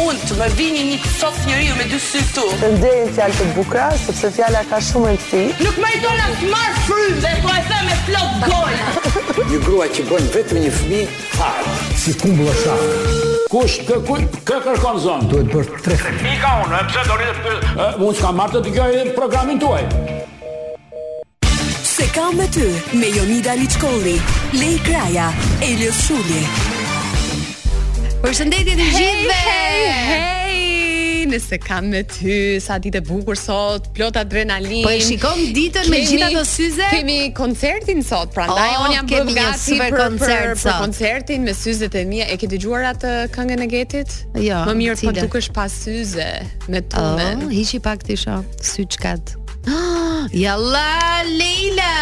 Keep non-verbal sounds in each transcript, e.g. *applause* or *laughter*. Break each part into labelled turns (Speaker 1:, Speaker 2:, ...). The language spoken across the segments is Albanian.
Speaker 1: mund të më vini një sot njeriu me dy sy këtu.
Speaker 2: Të nderin fjalë të bukura, sepse fjala ka shumë rëndësi.
Speaker 1: Nuk meriton as të marr frymë dhe po e them me plot gojë.
Speaker 3: Një grua që bën vetëm një fëmijë fare.
Speaker 4: si kumbulla shaf.
Speaker 5: Kush kë kë kë kërkon zonë?
Speaker 4: Duhet bërë tre
Speaker 5: Pika unë, e pse do rritë pyet? Unë s'kam marrë të dëgjoj programin tuaj.
Speaker 6: Se kam me ty me Jonida Liçkolli, Lej Kraja, Elios Shuli.
Speaker 7: Përshëndetje të gjithëve.
Speaker 8: hey,
Speaker 7: hey. Nëse kam me ty, sa ditë e bukur sot, plot adrenalin.
Speaker 8: Po e shikon ditën me
Speaker 7: Kemi-
Speaker 8: gjitha ato syze?
Speaker 7: Kemi koncertin sot, prandaj
Speaker 8: Oh,
Speaker 7: unë jam
Speaker 8: kemi
Speaker 7: bërë
Speaker 8: një
Speaker 7: gati
Speaker 8: super
Speaker 7: për,
Speaker 8: koncert
Speaker 7: për, për
Speaker 8: sot.
Speaker 7: koncertin me syzet e mia. E ke dëgjuar atë këngën e Getit?
Speaker 8: Jo,
Speaker 7: Më mirë po
Speaker 8: cila?
Speaker 7: dukesh pa syze me tumen.
Speaker 8: Oh, hiqi pak ti shoh, syçkat.
Speaker 7: Ah,
Speaker 8: Jalla Leila.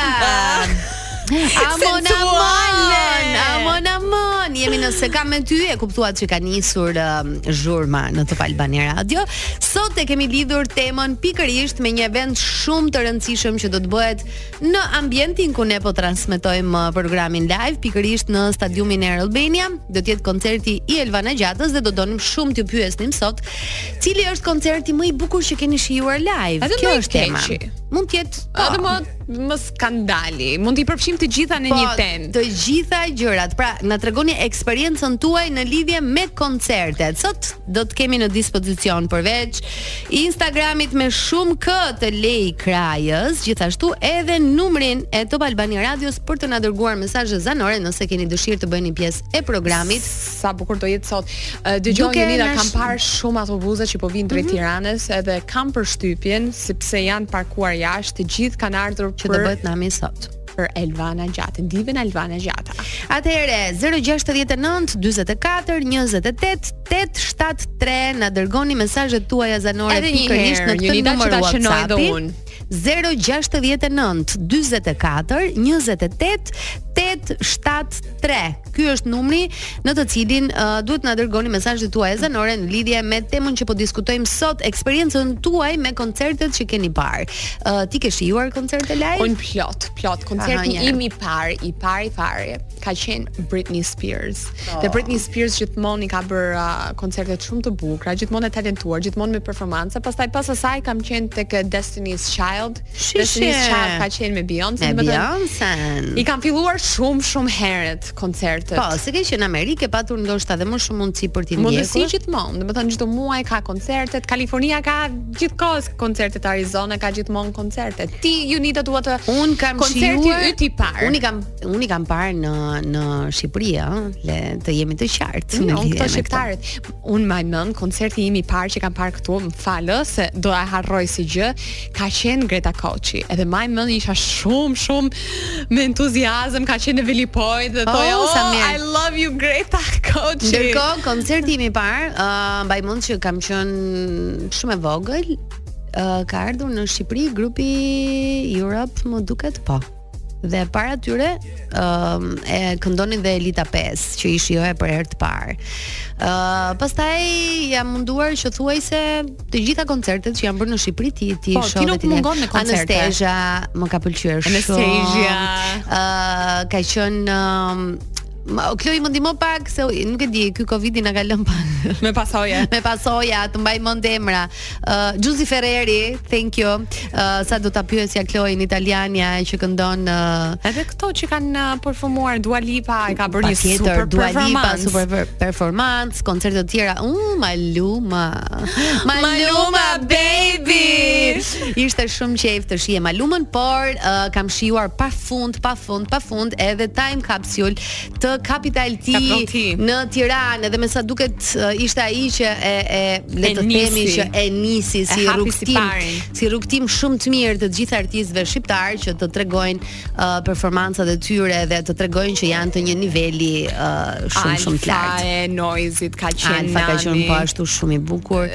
Speaker 8: Amon
Speaker 7: Sensuale!
Speaker 8: amon, amon amon, jemi në se kam me ty, e kuptuat që ka nisur um, zhurma në Top Albani Radio. Sot e kemi lidhur temën pikërisht me një event shumë të rëndësishëm që do të bëhet në ambientin ku ne po transmetojmë uh, programin live, pikërisht në stadiumin Air Albania. Do të jetë koncerti i Elvana Gjatës dhe do donim shumë t'ju pyesnim sot, cili është koncerti më i bukur që keni shijuar live?
Speaker 7: Edhe më
Speaker 8: Kjo
Speaker 7: i
Speaker 8: është tema.
Speaker 7: keqi.
Speaker 8: Mund të jetë
Speaker 7: Po, dhe më, më skandali. Mund t'i përfshim të gjitha
Speaker 8: Po,
Speaker 7: në një tent.
Speaker 8: Të gjitha gjërat. Pra, na tregoni eksperiencën tuaj në lidhje me koncertet. Sot do të kemi në dispozicion përveç Instagramit me shumë k të Lej Krajës, gjithashtu edhe numrin e Top Albani Radios për të na dërguar mesazhe zanore nëse keni dëshirë të bëheni pjesë e programit.
Speaker 7: sa bukur do jetë sot. Ë, Dëgjoj
Speaker 8: Duke Mhm.
Speaker 7: Jonida,
Speaker 8: na
Speaker 7: kam
Speaker 8: sh-
Speaker 7: parë shumë autobuse që po vinë drejt Tiranës edhe kam përshtypjen sepse janë parkuar jashtë, të gjithë kanë ardhur
Speaker 8: Që
Speaker 7: për
Speaker 8: do bëhet nami sot.
Speaker 7: për Elvana Gjata, divën Elvana Gjata.
Speaker 8: Atëherë 069 44 28 873 na dërgoni mesazhet tuaja zanore
Speaker 7: Edhe një
Speaker 8: pikërisht
Speaker 7: herë,
Speaker 8: në këtë
Speaker 7: Jonida, që
Speaker 8: numër
Speaker 7: ta shënoj
Speaker 8: WhatsApp.
Speaker 7: edhe unë.
Speaker 8: 069 44 28 873. Ky është numri në të cilin uh, duhet na dërgoni mesazhet tuaja zanore në lidhje me temën që po diskutojmë sot, eksperiencën tuaj me koncertet që keni parë. Uh, ti ke shijuar koncerte live?
Speaker 7: Un plot, plot koncerti
Speaker 8: Aha, njerë.
Speaker 7: im i parë, i parë i parë ka qenë Britney Spears.
Speaker 8: Oh.
Speaker 7: Dhe Britney Spears gjithmonë i ka bërë uh, koncerte shumë të bukura, gjithmonë e talentuar, gjithmonë me performanca. Pastaj pas asaj kam qenë tek uh, Destiny's Child.
Speaker 8: Shishe.
Speaker 7: Destiny's Child ka qenë me Beyoncé,
Speaker 8: Me
Speaker 7: domethënë,
Speaker 8: Beyoncé.
Speaker 7: I kam filluar shumë shumë herët koncertet.
Speaker 8: Po, se ke që në Amerikë e patur ndoshta edhe më shumë mundësi për t'i
Speaker 7: Mundësi
Speaker 8: ndjekur.
Speaker 7: gjithmonë, do të thënë çdo muaj ka koncertet, Kalifornia ka gjithkohës koncertet, Arizona ka gjithmonë koncerte. Ti Unita dua të
Speaker 8: Un kam
Speaker 7: koncerti
Speaker 8: shijuar
Speaker 7: yt i parë.
Speaker 8: Un i kam un i kam parë në në Shqipëri, ëh, le të jemi të qartë.
Speaker 7: Mm, Unë
Speaker 8: në lidhje
Speaker 7: këto
Speaker 8: me
Speaker 7: shqiptarët. Unë më mend koncerti im i parë që kam parë këtu, më falë se do ta harroj si gjë, ka qenë Greta Koçi. Edhe më mend isha shumë shumë me entuziazm, ka qenë në Velipoj dhe thoya,
Speaker 8: Oh,
Speaker 7: "Oh,
Speaker 8: sa mirë."
Speaker 7: I love you Greta Koçi."
Speaker 8: Ndërkohë, koncerti im i parë, uh, mbaj mend që kam qenë shumë e vogël, uh, ka ardhur në Shqipëri grupi Europe, më duket po. Dhe para tyre uh, e këndonin dhe Elita 5 që i shijoja për herë të parë. Uh, pastaj jam munduar që thuaj se të gjitha koncertet që janë bërë në Shqipëri ti ti
Speaker 7: Po, ti
Speaker 8: shoh
Speaker 7: nuk
Speaker 8: ti le-
Speaker 7: mungon në koncerte.
Speaker 8: Anestezia më ka pëlqyer shumë.
Speaker 7: Anestezia.
Speaker 8: Ë, ka qenë ë, ma- o, Kloj më ndihmo pak se u- nuk e di, ky Covidi na ka lënë pak
Speaker 7: me pasoje.
Speaker 8: *laughs* me pasoja, të mbaj mend emra. Ë Giusi Ferreri, thank you. Ë sa do ta pyesja Kloj në italiania që këndon ë
Speaker 7: Edhe këto që kanë uh, performuar Dua Lipa e ka bërë një
Speaker 8: patjetër
Speaker 7: super
Speaker 8: Dua Lipa,
Speaker 7: performance.
Speaker 8: super per- performance, koncerte të tjera. U Maluma.
Speaker 7: Maluma, baby!
Speaker 8: Ishte shumë qejf të shije Malumën, por uh, kam shijuar pafund, pafund, pafund edhe Time Capsule të Capital T
Speaker 7: Capital T.
Speaker 8: në Tiranë dhe me sa duket uh, ishte ai që e e le
Speaker 7: E
Speaker 8: të
Speaker 7: nisi.
Speaker 8: themi që e nisi si
Speaker 7: hapi si
Speaker 8: rrugtim,
Speaker 7: parin.
Speaker 8: si rrugtim shumë të mirë të gjithë artistëve shqiptar që të tregojnë uh, performancat e tyre dhe të tregojnë që janë të një niveli uh, shumë shumë të lartë.
Speaker 7: Alfa e Noizit ka qenë
Speaker 8: Alfa ka qenë
Speaker 7: nani.
Speaker 8: po ashtu shumë i bukur.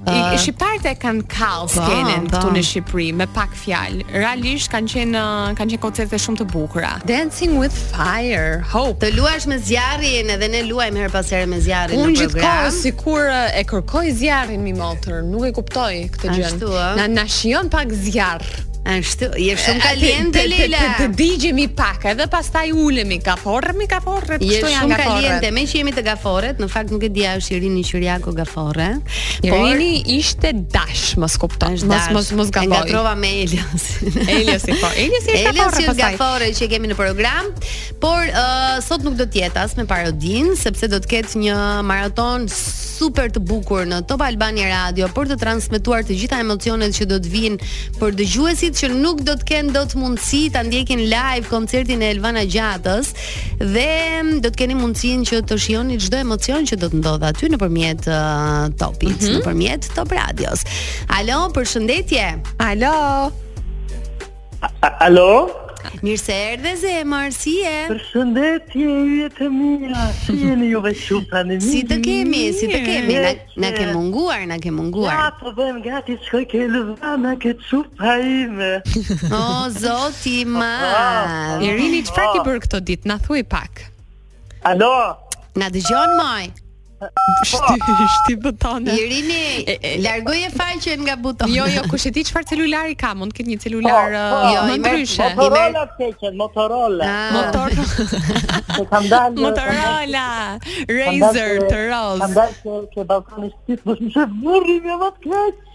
Speaker 8: Uh,
Speaker 7: I- Shqiptarët e kanë kall skenën
Speaker 8: po.
Speaker 7: këtu në Shqipëri me pak fjalë. Realisht kanë qenë uh, kanë qenë koncerte shumë të bukura. Dancing with Fire, Hope.
Speaker 8: Të luash me zjarrin edhe ne luajmë her pas here me zjarrin
Speaker 7: Unë
Speaker 8: në
Speaker 7: gjithkohë
Speaker 8: program.
Speaker 7: sikur uh, e kërkoj zjarrin mi motër, nuk e kuptoj këtë gjë.
Speaker 8: Ashtu, ë?
Speaker 7: Na na shijon pak zjarr.
Speaker 8: Ashtu, je shumë kaliente Leila.
Speaker 7: Të digjemi pak, edhe pastaj ulemi kaforre, mi kaforre,
Speaker 8: Je
Speaker 7: kështu janë
Speaker 8: shumë kaliente,
Speaker 7: kaforret.
Speaker 8: me që jemi të gaforret, në fakt nuk e di a është Irini Qyriako gafore.
Speaker 7: Irini ishte dash, mos kupton.
Speaker 8: Është
Speaker 7: Mos
Speaker 8: dash.
Speaker 7: mos mos
Speaker 8: E
Speaker 7: gaboj.
Speaker 8: ngatrova me Elios. *laughs*
Speaker 7: Eliosi po, Eliosi është
Speaker 8: Elios
Speaker 7: kaforre
Speaker 8: është
Speaker 7: pastaj.
Speaker 8: gafore që kemi në program, por ë, sot nuk do të jetë as me parodin, sepse do të ketë një maraton super të bukur në Top Albania Radio për të transmetuar të gjitha emocionet që do të vinë për dëgjuesit që nuk do të kenë dot mundësi ta ndjekin live koncertin e Elvana Gjatës dhe mm, do të keni mundësinë që të shihoni çdo emocion që do të ndodhë aty nëpërmjet uh, Topit, nëpërmjet Top Radios. Alo, përshëndetje.
Speaker 7: Alo.
Speaker 4: Alo?
Speaker 8: Mirë se erdhe zemër, si je?
Speaker 4: Përshëndetje ju të mia. Si jeni juve shumë tani?
Speaker 8: Si të kemi, si të kemi, na, na ke
Speaker 4: Mirë.
Speaker 8: munguar, na ke
Speaker 4: Ja,
Speaker 8: munguar.
Speaker 4: po bëjmë gati të shkoj ke Lëvana ke çupa ime.
Speaker 8: O
Speaker 4: *laughs*
Speaker 8: zoti i
Speaker 4: Ah,
Speaker 8: madh.
Speaker 7: Irini çfarë ke bërë këto ditë? Na thuaj pak.
Speaker 4: Alo?
Speaker 8: Na dëgjon moj.
Speaker 7: Shty, *laughs* shty butone.
Speaker 8: Irini,
Speaker 7: *laughs* E, e,
Speaker 8: largoj e faqen nga butoni.
Speaker 7: Jo, jo, kush e di çfarë celulari ka, mund të ketë një celular
Speaker 4: Po,
Speaker 7: uh,
Speaker 4: po.
Speaker 7: më
Speaker 8: Jo, i merr-
Speaker 7: ndryshe.
Speaker 8: po, po.
Speaker 4: Motorola të keqen,
Speaker 8: *laughs*
Speaker 4: Motorola.
Speaker 8: Ah,
Speaker 7: Motor,
Speaker 4: Se kam
Speaker 8: *laughs*
Speaker 4: dalë
Speaker 7: po- Motorola, Razer, të
Speaker 4: Kam
Speaker 7: roz.
Speaker 4: dalë ke, ke balkoni shtit, më jo, shumë burri më vot keq.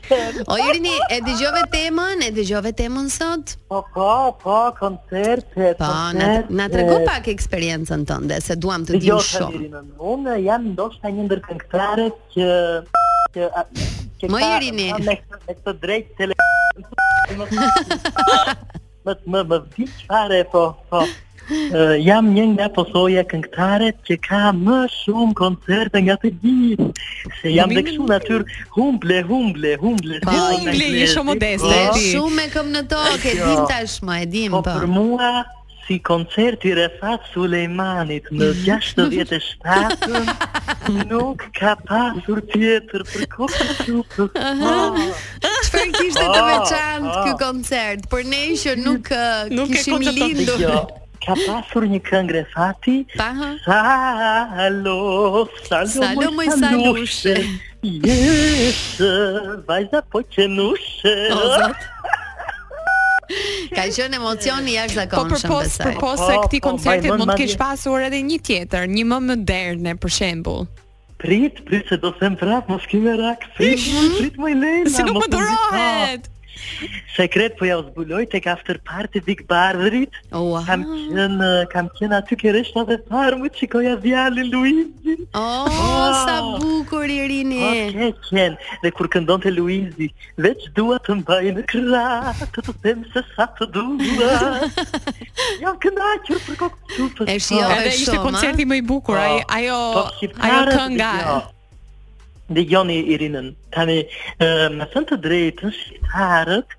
Speaker 8: O Irini, e dëgjove temën, e dëgjove temën sot?
Speaker 4: Po, po, po, koncerte,
Speaker 8: Po, na na tregu pak eksperiencën tënde, se duam të dim
Speaker 4: Dëgjoj
Speaker 8: shumë.
Speaker 4: Irinën. Unë jam ndoshta një ndër këngëtarët që që a- që
Speaker 8: Më
Speaker 4: ka-
Speaker 8: Irini.
Speaker 4: ka me këtë- me këtë drejtë tele
Speaker 8: *laughs*
Speaker 4: më më më më vdiq fare po po. Ë, jam një nga posoja këngëtarët që ka më shumë koncerte nga të gjithë. Se jam dhe kështu natyrë humble, humble, humble.
Speaker 8: Po,
Speaker 7: humble, je shumë modeste,
Speaker 8: Dhe
Speaker 7: e di.
Speaker 8: shumë me këmbë në tokë, e
Speaker 4: Jo.
Speaker 8: dim tashmë, e dim
Speaker 4: Po
Speaker 8: po.
Speaker 4: për mua si koncerti Refat Sulejmanit
Speaker 7: *laughs*
Speaker 4: në 67 nuk ka pasur tjetër për kohë të
Speaker 8: *laughs* Çfarë kishte të
Speaker 4: Ah,
Speaker 8: veçantë
Speaker 4: ah.
Speaker 8: ky koncert? Për ne që nuk ë,
Speaker 7: Nuk e
Speaker 8: kishim
Speaker 7: koncepton.
Speaker 8: lindur.
Speaker 4: Jo, ka pasur një këngë Refati
Speaker 8: Pa, ha?
Speaker 4: Salo, salo,
Speaker 8: Salo, moj salushe.
Speaker 4: Jesë, vajza po që nushe
Speaker 8: O
Speaker 4: *laughs*
Speaker 8: zot. Ka qenë emocioni
Speaker 7: Po për
Speaker 8: jashtëzakonshëm
Speaker 7: pos,
Speaker 8: besoj.
Speaker 7: për pos
Speaker 4: Po,
Speaker 7: e këtij
Speaker 4: po,
Speaker 7: koncerti
Speaker 4: vajmën
Speaker 7: mund të
Speaker 4: madje.
Speaker 7: kesh pasur edhe një tjetër, një më moderne për shembull.
Speaker 4: Prit, prit se do them prap, mos kime rak Prit, prit moj lejna
Speaker 7: Mhm. Si nuk
Speaker 4: mos
Speaker 7: më
Speaker 4: Oh.
Speaker 7: durohet.
Speaker 4: Sekret po ja u zbuloj tek after party Big Barberit.
Speaker 7: po-
Speaker 8: Ua.
Speaker 4: Kam qenë kam qenë aty ke reshta dhe farmët, shikoja djalin Luizin.
Speaker 8: Oh, sa
Speaker 4: Wow.
Speaker 8: bukur
Speaker 4: Po
Speaker 8: Irini.
Speaker 4: ke qenë dhe kur këndonte Luizi, veç dua të mbaj në krah, të të them se sa të dua. Jam kënaqur për kokë çupës.
Speaker 8: E shijova.
Speaker 7: Edhe
Speaker 8: e
Speaker 7: ishte
Speaker 8: Jo, shumë,
Speaker 7: koncerti më i
Speaker 4: Po,
Speaker 7: bukur, ai ajo ajo
Speaker 4: shqiptarët,
Speaker 7: kënga.
Speaker 4: jo. Dëgjoni Irinën, tani ë, me thënë të drejtën shqiptarët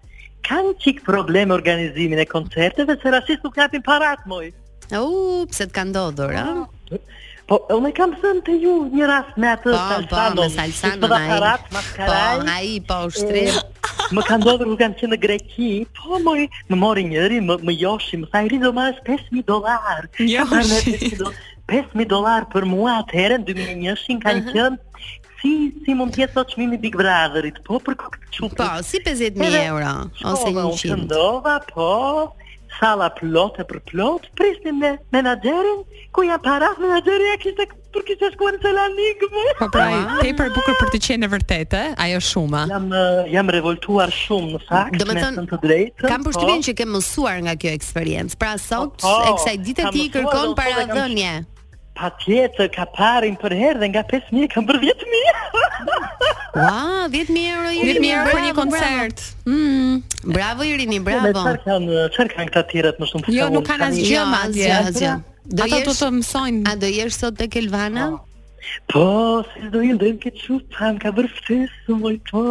Speaker 4: kanë qik probleme organizimin e koncerteve se rastisht nuk japin parat moj.
Speaker 8: U, pse të ka ndodhur, ë?
Speaker 4: Po, unë e kam thënë të ju një rast me
Speaker 8: Po,
Speaker 4: atë
Speaker 8: po,
Speaker 4: salsanon.
Speaker 8: me salsanon
Speaker 4: ai.
Speaker 8: ai.
Speaker 4: Parat,
Speaker 8: Po,
Speaker 4: maskaraj.
Speaker 8: ai po ushtrim.
Speaker 4: Më ka ndodhur kur kam qenë në Greqi, po më më mori njëri, më më joshi, më tha i do marrësh 5000 dollar.
Speaker 7: Joshi.
Speaker 4: Ka marrë 5000 do- 5000 dollar për mua atëherë në 2001-shin kanë qenë si si mund të jetë sot çmimi Big Brotherit, po për kokë të çupit.
Speaker 8: Po, si 50000 euro ose
Speaker 4: Shkova, unë
Speaker 8: 100.
Speaker 4: Këndova, po, sala plotë për plot, prisnim me menaxherin, ku ja para menaxheri ja kishte për kishte shkuar në Selanik. mo.
Speaker 7: Po pra,
Speaker 4: *laughs*
Speaker 7: tepër bukur për të qenë e vërtetë, ajo shuma.
Speaker 4: Jam eh, jam revoltuar shumë në fakt,
Speaker 8: Do me
Speaker 4: me
Speaker 8: thënë,
Speaker 4: thënë të drejtën.
Speaker 8: Kam përshtypjen
Speaker 4: po.
Speaker 8: që ke mësuar nga kjo eksperiencë. Pra sot
Speaker 4: Po, po,
Speaker 8: e kësaj dite
Speaker 4: kam
Speaker 8: ti
Speaker 4: mësuar,
Speaker 8: kërkon
Speaker 4: do të thotë
Speaker 8: para
Speaker 4: kam-
Speaker 8: dhënje.
Speaker 4: Pa tjetër, ka parin për herë dhe nga 5.000 kam bërë 10.000.
Speaker 8: Ua, 10000 euro Irini.
Speaker 7: 10 euro për një
Speaker 8: bravo,
Speaker 7: koncert.
Speaker 8: bravo. Mm. Bravo Irini,
Speaker 4: *laughs* Me
Speaker 8: bravo.
Speaker 4: çfarë kanë, çfarë kanë këta tjerët më shumë? se
Speaker 7: Jo,
Speaker 4: unë,
Speaker 7: nuk kanë
Speaker 4: tani?
Speaker 7: asgjë
Speaker 8: Jo,
Speaker 7: madje.
Speaker 8: asgjë, asgjë. Do
Speaker 7: Ato do
Speaker 8: jesh-
Speaker 7: të mësojnë
Speaker 8: A do jesh sot tek Elvana?
Speaker 4: Po, si do jenë, do jenë këtë qupë, më ka bërë ftesë, moj po.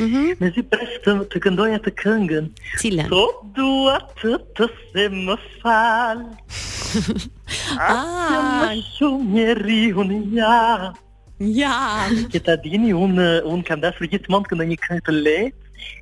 Speaker 8: Mhm.
Speaker 4: Me zi presë të, të këndoja të këngën.
Speaker 8: Cilën?
Speaker 4: Sot dua të të se më
Speaker 8: *laughs*
Speaker 4: falë, që më
Speaker 7: Ah,
Speaker 4: shumë njeri unë jam.
Speaker 7: ja.
Speaker 4: Që ta dini, unë un kam dashur gjithmonë të këndoj një këngë të lehtë,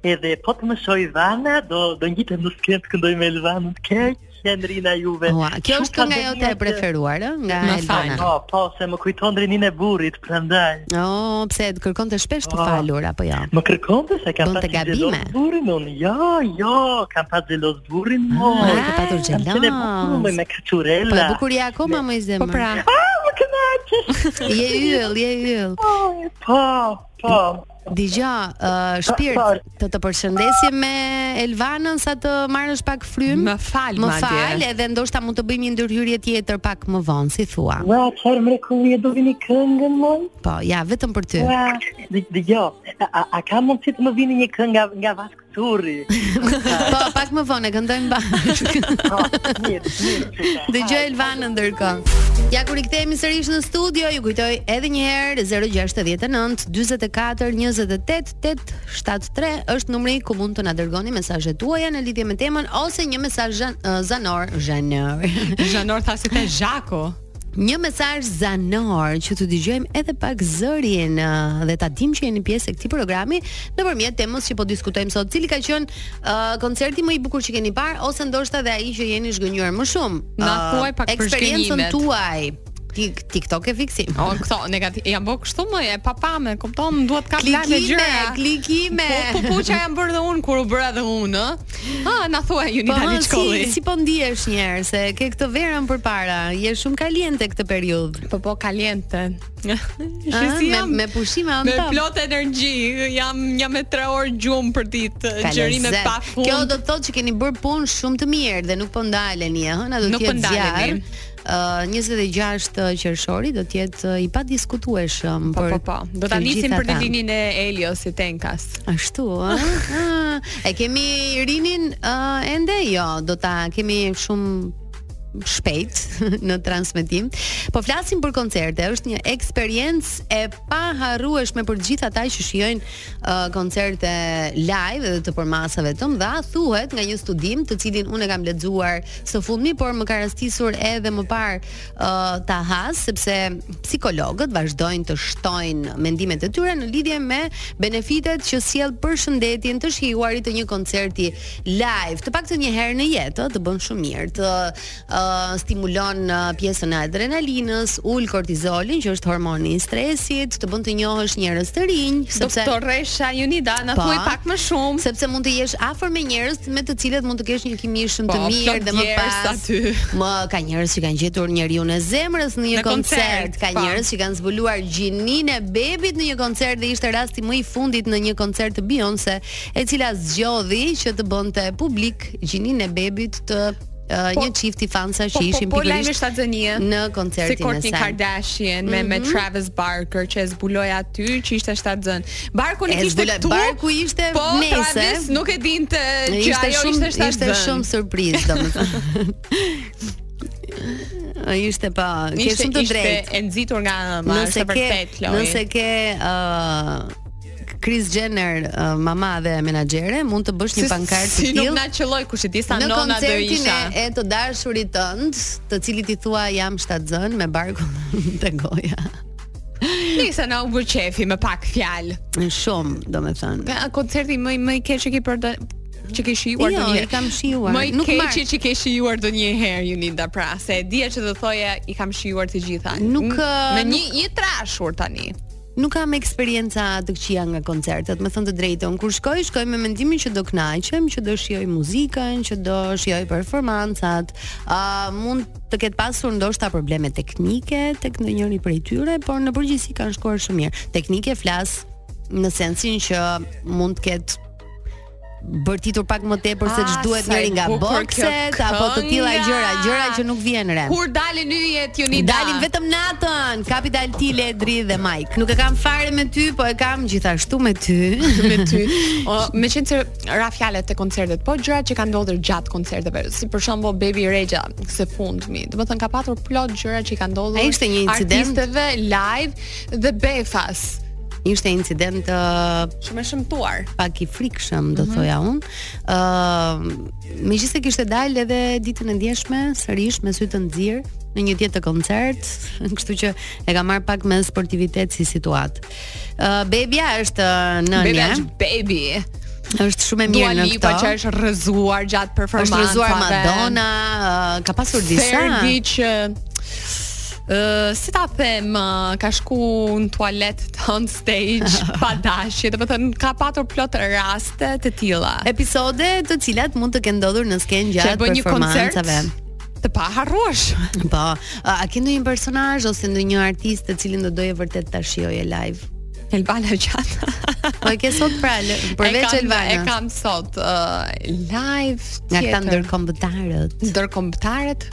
Speaker 4: Edhe po të më shoj Vana, do do ngjitem në skenë të këndoj me Elvanën keq, Henrina Juve.
Speaker 8: Ua, kjo
Speaker 4: Shumë
Speaker 8: është kënga
Speaker 4: pandemia
Speaker 8: jote e
Speaker 4: që-
Speaker 8: preferuar, ë, nga
Speaker 7: Më
Speaker 8: Elvana.
Speaker 4: Po, po, se më kujton rinin e burrit, prandaj.
Speaker 8: Oh, pse të kërkon të shpesh të
Speaker 4: Oh.
Speaker 8: falur apo jo?
Speaker 4: Më kërkon të se kam
Speaker 8: Bën të
Speaker 4: pas i
Speaker 8: gabime.
Speaker 4: gjelos burin unë, jo, jo, kam pas gjelos burin, mo.
Speaker 8: Ah, ke patur
Speaker 4: Kam qenë e
Speaker 8: gjelos.
Speaker 4: bukurume me kacurella.
Speaker 8: Po e bukuria akoma më i
Speaker 7: Po
Speaker 8: zemër.
Speaker 7: pra,
Speaker 4: Ah, më kënaqesh.
Speaker 8: Je yll, je yll.
Speaker 4: Oj, Po, po.
Speaker 8: Dgjoj, uh,
Speaker 4: Pa-
Speaker 8: shpirt, të të përshëndesim me Elvanën sa të marrësh pak frym.
Speaker 7: Më fal,
Speaker 8: më
Speaker 7: madje.
Speaker 8: fal, edhe ndoshta mund të bëjmë një ndërhyrje tjetër pak më vonë, si thua.
Speaker 4: Ua, çfarë mrekullie do vini këngën, moj?
Speaker 8: Po, ja, vetëm për ty.
Speaker 4: Ua, dhe- dhe jo, a, a- a ka mundësi të më vini një këngë nga, nga Vask Turri?
Speaker 8: po, pak më vonë e këndojmë bashkë.
Speaker 4: *laughs* Po, mirë, mirë. qytet.
Speaker 8: Dëgjoj Elvanën ndërkohë. Ja kur i kthehemi sërish në studio, ju kujtoj edhe një herë 069 44 28 873 është numri ku mund të na dërgoni mesazhet tuaja në lidhje me temën ose një mesazh zhan- eh, zanor, zanor.
Speaker 7: Zhanor tha se te Zhako.
Speaker 8: Një mesazh zanor që të dëgjojmë edhe pak zërin ë, dhe ta dim që jeni pjesë e këtij programi nëpërmjet temës që po diskutojmë sot. Cili ka qenë ë, koncerti më i bukur që keni parë ose ndoshta edhe ai që jeni zhgënjur më shumë?
Speaker 7: Na Uh,
Speaker 8: Ë,
Speaker 7: thuaj pak për
Speaker 8: eksperiencën
Speaker 7: zhgënjimet.
Speaker 8: tuaj. Tik TikTok e fiksim.
Speaker 7: O, këto negativ, jam bë kështu më e papame, kupton, duhet ka plan e
Speaker 8: Klikime,
Speaker 7: gjëra.
Speaker 8: klikime.
Speaker 7: Po, po, po që jam bërë dhe unë kur u bëra dhe unë, ë? Ah, na thua ju një
Speaker 8: *laughs* Po
Speaker 7: tani
Speaker 8: si,
Speaker 7: shkolli.
Speaker 8: si po ndihesh një herë se ke këtë verën përpara, je shumë kaliente këtë periudhë.
Speaker 7: Po po kaliente. Shi
Speaker 8: Ëh,
Speaker 7: si
Speaker 8: Ah, me-
Speaker 7: jam
Speaker 8: me pushime on
Speaker 7: Me
Speaker 8: top.
Speaker 7: plot energji, jam jam me 3 orë gjumë për ditë,
Speaker 8: Ka
Speaker 7: gjërime
Speaker 8: lezet.
Speaker 7: pa fund.
Speaker 8: Kjo do të thotë që keni bërë punë shumë të mirë dhe nuk po ndaleni, ëh, na do
Speaker 7: Nuk
Speaker 8: të
Speaker 7: po
Speaker 8: jetë zjarr.
Speaker 7: ndaleni.
Speaker 8: Ë, 26 qershori do të jetë ë, i padiskutueshëm
Speaker 7: po
Speaker 8: për
Speaker 7: po po. Do ta
Speaker 8: të
Speaker 7: nisim
Speaker 8: gjitha
Speaker 7: për
Speaker 8: ta.
Speaker 7: linin e Eliosit Tenkas.
Speaker 8: Ashtu, ëh. Ah, e kemi Irinin ë, ende? Jo, do ta kemi shumë shpejt *laughs* në transmetim. Po flasim për koncerte, është një eksperiencë e paharrueshme për gjithë ata që shijojnë uh, koncerte live dhe të përmasave të mëdha, thuhet nga një studim të cilin unë e kam lexuar së fundmi, por më ka rastisur edhe më parë uh, Tahas, sepse psikologët vazhdojnë të shtojnë mendimet e tyre në lidhje me benefitet që sjell për shëndetin të shijuarit të një koncerti live, të paktën një herë në jetë, ë, të bën shumë mirë, të ë, stimulon ë, pjesën e adrenalinës, ul kortizolin, që është hormoni i stresit, të bën të njohësh njerëz të rinj, sepse
Speaker 7: Doktoresha Junida, na
Speaker 8: Po.
Speaker 7: thuaj pak më shumë.
Speaker 8: sepse mund të jesh afër me njerëz me të cilët mund të kesh një kimi shumë të
Speaker 7: Po,
Speaker 8: mirë
Speaker 7: plot
Speaker 8: dhe më
Speaker 7: djerës
Speaker 8: pas.
Speaker 7: aty.
Speaker 8: Më ka njerëz që kanë gjetur njeriu në zemrës në një
Speaker 7: Në
Speaker 8: koncert,
Speaker 7: koncert,
Speaker 8: ka
Speaker 7: po.
Speaker 8: njerëz që kanë zbuluar gjininë e bebit në një koncert dhe ishte rasti më i fundit në një koncert të Beyoncé, e cila zgjodhi që të bënte publik gjininë e bebit të ë, një çift i fansa që
Speaker 7: po,
Speaker 8: ishin
Speaker 7: po, po, lajme
Speaker 8: pikërisht
Speaker 7: shtatzënie.
Speaker 8: në
Speaker 7: Si
Speaker 8: koncertin e
Speaker 7: Kourtney
Speaker 8: saj. Mhm.
Speaker 7: Kardashian me me Travis Barker që e zbuloi aty që ishte shtatzën. Barku
Speaker 8: E
Speaker 7: nuk ishte
Speaker 8: zbuloi,
Speaker 7: këtu.
Speaker 8: Barku ishte
Speaker 7: po,
Speaker 8: nese.
Speaker 7: Travis nuk e dinte që
Speaker 8: Ishte
Speaker 7: ajo
Speaker 8: shumë
Speaker 7: ishte
Speaker 8: ishte,
Speaker 7: shtatzën.
Speaker 8: shumë surprizë *laughs* domethënë. ishte pa, ke
Speaker 7: Ishte-
Speaker 8: shumë të
Speaker 7: ishte
Speaker 8: drejtë.
Speaker 7: e nxitur nga ëma,
Speaker 8: nëse
Speaker 7: është vërtet
Speaker 8: ke
Speaker 7: Lori.
Speaker 8: nëse ke ë Kris Jenner, ë, mama dhe menaxhere, mund të bësh një pankartë
Speaker 7: si, si
Speaker 8: të
Speaker 7: nuk na
Speaker 8: tillë
Speaker 7: qelloj kush e di sa
Speaker 8: në
Speaker 7: nona do
Speaker 8: koncertin
Speaker 7: isha.
Speaker 8: e, e të dashurit tënd, të cilit i thua jam shtatzën me barkun *laughs* te goja.
Speaker 7: Nisë na u bë qefi me pak fjalë.
Speaker 8: Shumë, domethënë.
Speaker 7: Nga koncerti më më i keq që ke për që ke shijuar
Speaker 8: Jo,
Speaker 7: ndonjëherë.
Speaker 8: i kam shijuar.
Speaker 7: Më i
Speaker 8: Nuk
Speaker 7: keq
Speaker 8: marr.
Speaker 7: që ke shijuar ndonjëherë Junida pra, se e dija që do thoja i kam shijuar të gjitha.
Speaker 8: Nuk,
Speaker 7: M-
Speaker 8: ë,
Speaker 7: me një një trashur tani.
Speaker 8: Nuk kam eksperienca të këqija nga koncertet, më thënë të drejtën. Kur shkoj, shkoj me mendimin që do kënaqem, që do shijoj muzikën, që do shijoj performancat. Ë mund të ketë pasur ndoshta probleme teknike tek ndonjëri prej tyre, por në përgjithësi kanë shkuar shumë mirë. Teknike flas në sensin që mund të ketë bërtitur pak më tepër se
Speaker 7: Ah,
Speaker 8: ç'duhet
Speaker 7: sa e
Speaker 8: njëri nga
Speaker 7: bukur kjo
Speaker 8: bokset apo të tilla
Speaker 7: kënga!
Speaker 8: gjëra, gjëra që nuk vjen re.
Speaker 7: Kur dalin yjet Junida?
Speaker 8: Dalin vetëm natën, Capital T, Ledri dhe Mike. Nuk e kam fare me ty, po e kam gjithashtu me ty. *laughs*
Speaker 7: me ty. *laughs* O, me qenë se ra fjalet të koncertet, po gjërat që kanë ndodhur gjatë koncerteve, si për shembull Baby Rexha së fundmi. Do të thënë ka patur plot gjëra që i kanë ndodhur.
Speaker 8: A ishte një incident?
Speaker 7: Artisteve live dhe Befas.
Speaker 8: Ishte incident uh,
Speaker 7: Shumë e shëmtuar.
Speaker 8: pak i frikshëm,
Speaker 7: Mhm.
Speaker 8: do thoja unë. Ëm, megjithëse kishte dalë edhe ditën e ndjeshme, sërish me sy të nxirë në një tjetër koncert, *laughs* kështu që e ka marr pak me sportivitet si situatë. Ë Bebia është uh, nënja.
Speaker 7: Baby Rexha, baby.
Speaker 8: është shumë e
Speaker 7: Dua
Speaker 8: mirë në
Speaker 7: Lipa që
Speaker 8: këtë.
Speaker 7: është rrëzuar gjatë
Speaker 8: Është
Speaker 7: performancave.
Speaker 8: rëzuar Madonna, ë, ka pasur disa.
Speaker 7: Ferdi që Uh, si ta them, ë, ka shku në tualet on stage
Speaker 8: *laughs*
Speaker 7: pa dashje, do të thënë ka patur plot raste të tilla.
Speaker 8: Episode të cilat mund të kenë ndodhur në skenë
Speaker 7: Që
Speaker 8: gjatë
Speaker 7: bën një koncert
Speaker 8: performancave.
Speaker 7: të paharruash.
Speaker 8: Po, a a ke ndonjë personazh ose ndonjë artist të cilin do doje vërtet ta shijoje live?
Speaker 7: Elbala *laughs* Gjata.
Speaker 8: Po e ke sot pra, le-
Speaker 7: E
Speaker 8: përveç
Speaker 7: kam-
Speaker 8: Elvanës.
Speaker 7: E kam sot uh, live
Speaker 8: nga këta
Speaker 7: tjetër.
Speaker 8: ndërkombëtarët.
Speaker 7: ndërkombëtarët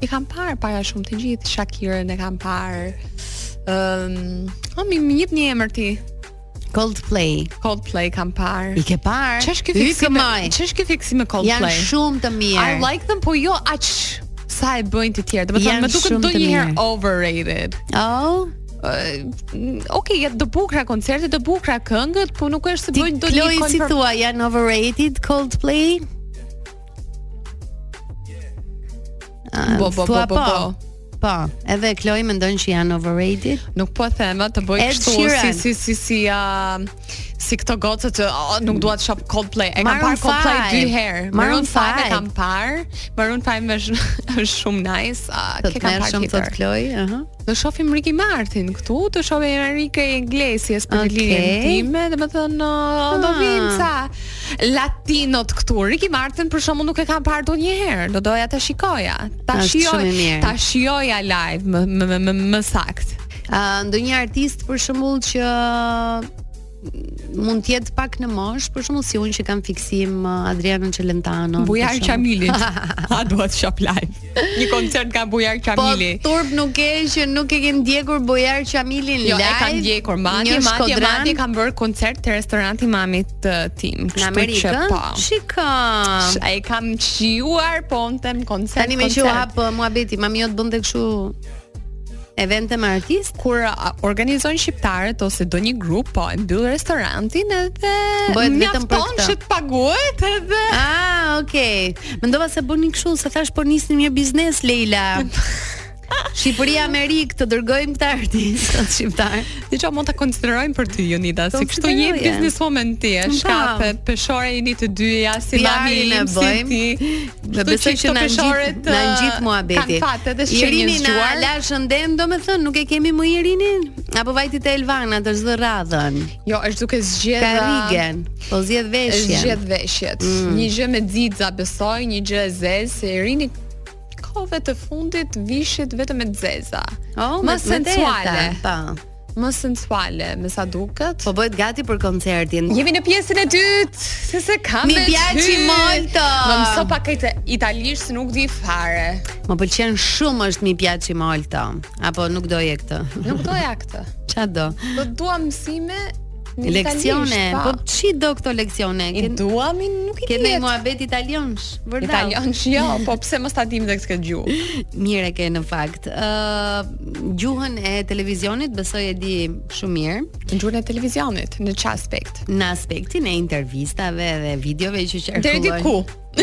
Speaker 7: i kam parë para shumë të gjithë, Shakirën e kam parë. Ëm, um, më më jep një emër ti.
Speaker 8: Coldplay.
Speaker 7: Coldplay kam
Speaker 8: I
Speaker 7: parë.
Speaker 8: ke parë?
Speaker 7: Ç'është ky fiksim?
Speaker 8: Hykëmaj.
Speaker 7: Ç'është ky fiksim me
Speaker 8: Janë
Speaker 7: Coldplay?
Speaker 8: shumë të mirë.
Speaker 7: I like them, po jo aq sa e bëjnë të tjerë. Do të
Speaker 8: Janë
Speaker 7: thonë, më duket
Speaker 8: shumë të
Speaker 7: ndonjëherë
Speaker 8: mirë.
Speaker 7: overrated.
Speaker 8: Oh,
Speaker 7: Okej, okay, janë të bukura koncertet, të bukura këngët, po nuk është se
Speaker 8: ti
Speaker 7: bëjnë ndonjë
Speaker 8: Chloe si
Speaker 7: konfer-
Speaker 8: thua, janë overrated Coldplay? Ah,
Speaker 7: Bo, bo,
Speaker 8: thua
Speaker 7: bo, bo, bo.
Speaker 8: Po, edhe Chloe mendon që janë overrated.
Speaker 7: Nuk po thema të bëj
Speaker 8: Ed
Speaker 7: kështu si
Speaker 8: Sheeran.
Speaker 7: si si si a si këto goca që "Ah, nuk dua të shoh Coldplay. E kam
Speaker 8: Maroon
Speaker 7: parë Coldplay dy
Speaker 8: 5.
Speaker 7: herë.
Speaker 8: Maroon
Speaker 7: Maroon 5 e
Speaker 8: 5.
Speaker 7: kam parë. Maroon 5 është *laughs* është shumë nice. A,
Speaker 8: Të
Speaker 7: ke
Speaker 8: të
Speaker 7: kam
Speaker 8: merë
Speaker 7: parë
Speaker 8: shumë të
Speaker 7: tjetër.
Speaker 8: Chloe, aha.
Speaker 7: Do shohim Ricky Martin këtu, do shohim Enrique Iglesias për
Speaker 8: Okej.
Speaker 7: okay. linjën time, domethënë uh, do
Speaker 8: Ah.
Speaker 7: vim ca latinot këtu. Ricky Martin për shembull nuk e kam parë ndonjëherë, do doja ta shikoja. Ta
Speaker 8: Është
Speaker 7: shijoj,
Speaker 8: shumë i mirë.
Speaker 7: ta shijoja live më më më, më, më sakt.
Speaker 8: Uh, ndonjë artist për shembull që mund të jetë pak në mosh, për shembull si unë që kam fiksim uh, Adriano Celentano.
Speaker 7: Bujar Qamilit.
Speaker 8: *laughs*
Speaker 7: A duhet shop live. Një koncert ka Bujar
Speaker 8: Po
Speaker 7: Qamili.
Speaker 8: turp nuk e që nuk e ke ndjekur Bojar Qamilin
Speaker 7: Jo,
Speaker 8: live.
Speaker 7: e kam ndjekur madje,
Speaker 8: një
Speaker 7: madje,
Speaker 8: Shkodran
Speaker 7: madje kam bërë koncert te restoranti i mamit të tim.
Speaker 8: në
Speaker 7: Kështu që
Speaker 8: Amerikë.
Speaker 7: po.
Speaker 8: Shiko.
Speaker 7: Sh- E kam qiuar, po unë them koncert.
Speaker 8: Tani me që u
Speaker 7: koncert.
Speaker 8: hap uh, muhabeti, mami jot bënte kështu evente me artist.
Speaker 7: kur a, organizojnë shqiptarët ose do një grup, po e mbyll restorantin edhe
Speaker 8: Bëhet vetëm për
Speaker 7: mjafton
Speaker 8: këtë.
Speaker 7: që të paguhet edhe
Speaker 8: Ah, okay. Mendova se bëni kështu, se thash po nisni mirë biznes
Speaker 7: *laughs*
Speaker 8: Leila. Shqipëria Amerikë të dërgojmë këta *laughs* artistët shqiptar.
Speaker 7: Diçka mund ta konsiderojmë për ty Jonida, se kështu je
Speaker 8: Konsideroje.
Speaker 7: businesswoman ti, e
Speaker 8: Po.
Speaker 7: shkapet peshore jeni të dyja si mami
Speaker 8: PR-in e
Speaker 7: im si
Speaker 8: bëjmë.
Speaker 7: ti.
Speaker 8: Dhe besoj që na ngjit na ngjit muhabeti.
Speaker 7: Kan fatet dhe
Speaker 8: Irini
Speaker 7: shenjën
Speaker 8: na
Speaker 7: zgjuar.
Speaker 8: la shëndem, domethënë nuk e kemi më Irinin, apo vajtit e Elvana të zë radhën.
Speaker 7: Jo, është duke
Speaker 8: Ka
Speaker 7: zgjedhur
Speaker 8: rigen, po zgjedh veshjen. Mm.
Speaker 7: Zgjedh veshjet. Një gjë me xixa besoj, një gjë e zezë, se Irini kove të fundit vishet vetëm me zeza.
Speaker 8: Oh,
Speaker 7: më
Speaker 8: me- me teta,
Speaker 7: sensuale,
Speaker 8: Po.
Speaker 7: më sensuale, me sa duket.
Speaker 8: Po bëhet gati për koncertin.
Speaker 7: Jemi në pjesën e dytë, se se kam
Speaker 8: Mi
Speaker 7: me
Speaker 8: piaci
Speaker 7: ty.
Speaker 8: molto.
Speaker 7: Më mëso pak këtë italisht se nuk di fare.
Speaker 8: Më pëlqen shumë është mi piaci molto, apo nuk doje këtë. *laughs*
Speaker 7: Nuk doja këtë.
Speaker 8: Ç'a do?
Speaker 7: Do dua mësime në
Speaker 8: Leksione,
Speaker 7: italisht,
Speaker 8: po
Speaker 7: po.
Speaker 8: ç'i do këto leksione?
Speaker 7: I
Speaker 8: Ken
Speaker 7: dua mi nuk i
Speaker 8: ke ndonjë
Speaker 7: di.
Speaker 8: muhabet italiansh? Vërtet.
Speaker 7: Italian, jo, po pse mos ta dim dhe këtë gjuhë?
Speaker 8: Mirë e ke në fakt. Ë gjuhën e televizionit besoj e di shumë mirë
Speaker 7: Në gjuhën e televizionit, në çfarë aspekt?
Speaker 8: në aspektin e intervistave dhe videove që
Speaker 7: Deri
Speaker 8: qarkullojnë.
Speaker 7: diku.
Speaker 8: *laughs*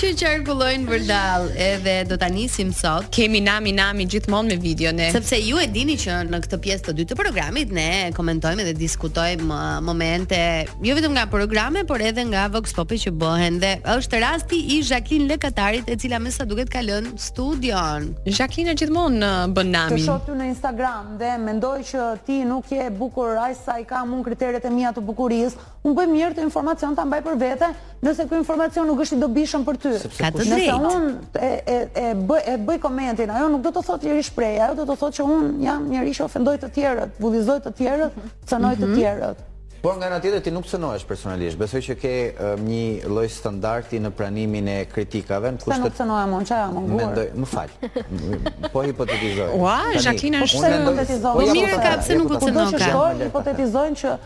Speaker 8: Që qarkullojnë vërdall, edhe do ta nisim sot.
Speaker 7: Kemi nami nami gjithmonë me video ne.
Speaker 8: Sepse ju e dini që në këtë pjesë të dytë të programit ne komentojmë dhe diskutojmë ë, momente jo vetëm nga programe, por edhe nga Vox Popi që bëhen dhe është rasti i Jacqueline Lekatarit e cila me sa duket ka lënë studion.
Speaker 7: Jacqueline gjithmonë ë, bën
Speaker 2: Të
Speaker 7: nami.
Speaker 2: shoh ty në Instagram dhe mendoj që ti nuk je e bukur aq sa i kam unë kriteret e mia të bukurisë. Unë bëj mirë të informacion ta mbaj për vete, nëse ky informacion nuk është i dobishëm për ty.
Speaker 8: Ka
Speaker 9: po-
Speaker 8: të
Speaker 2: Nëse
Speaker 8: drejtë.
Speaker 2: unë e, e, e, bëj, e bëj komentin, ajo nuk do të thotë liri shprehje, ajo do të thotë që unë jam njëri që ofendoj të tjerët, bullizoj të tjerët, cënoj të
Speaker 8: Mhm.
Speaker 2: tjerët.
Speaker 9: Por nga ana tjetër ti nuk cënohesh personalisht. Besoj që ke eh, një lloj standardi në pranimin e kritikave, në
Speaker 2: Pse nuk
Speaker 9: kushtet
Speaker 2: cënohem unë, çfarë jam unë
Speaker 9: mendoj,
Speaker 2: gurë?
Speaker 9: më fal. M- Po hipotetizoj.
Speaker 7: Ua,
Speaker 9: Tani,
Speaker 7: Jacqueline
Speaker 9: unë
Speaker 7: është-
Speaker 2: Pse
Speaker 9: mendoj-
Speaker 2: hipotetizoj?
Speaker 9: Po, ja,
Speaker 8: Mirë
Speaker 9: po,
Speaker 8: ka,
Speaker 9: ta-
Speaker 8: pse
Speaker 9: ja,
Speaker 8: nuk
Speaker 9: po,
Speaker 8: u
Speaker 9: ta-
Speaker 2: Kudo
Speaker 8: cënon
Speaker 2: që
Speaker 8: ka?
Speaker 2: shkojnë, hipotetizojnë që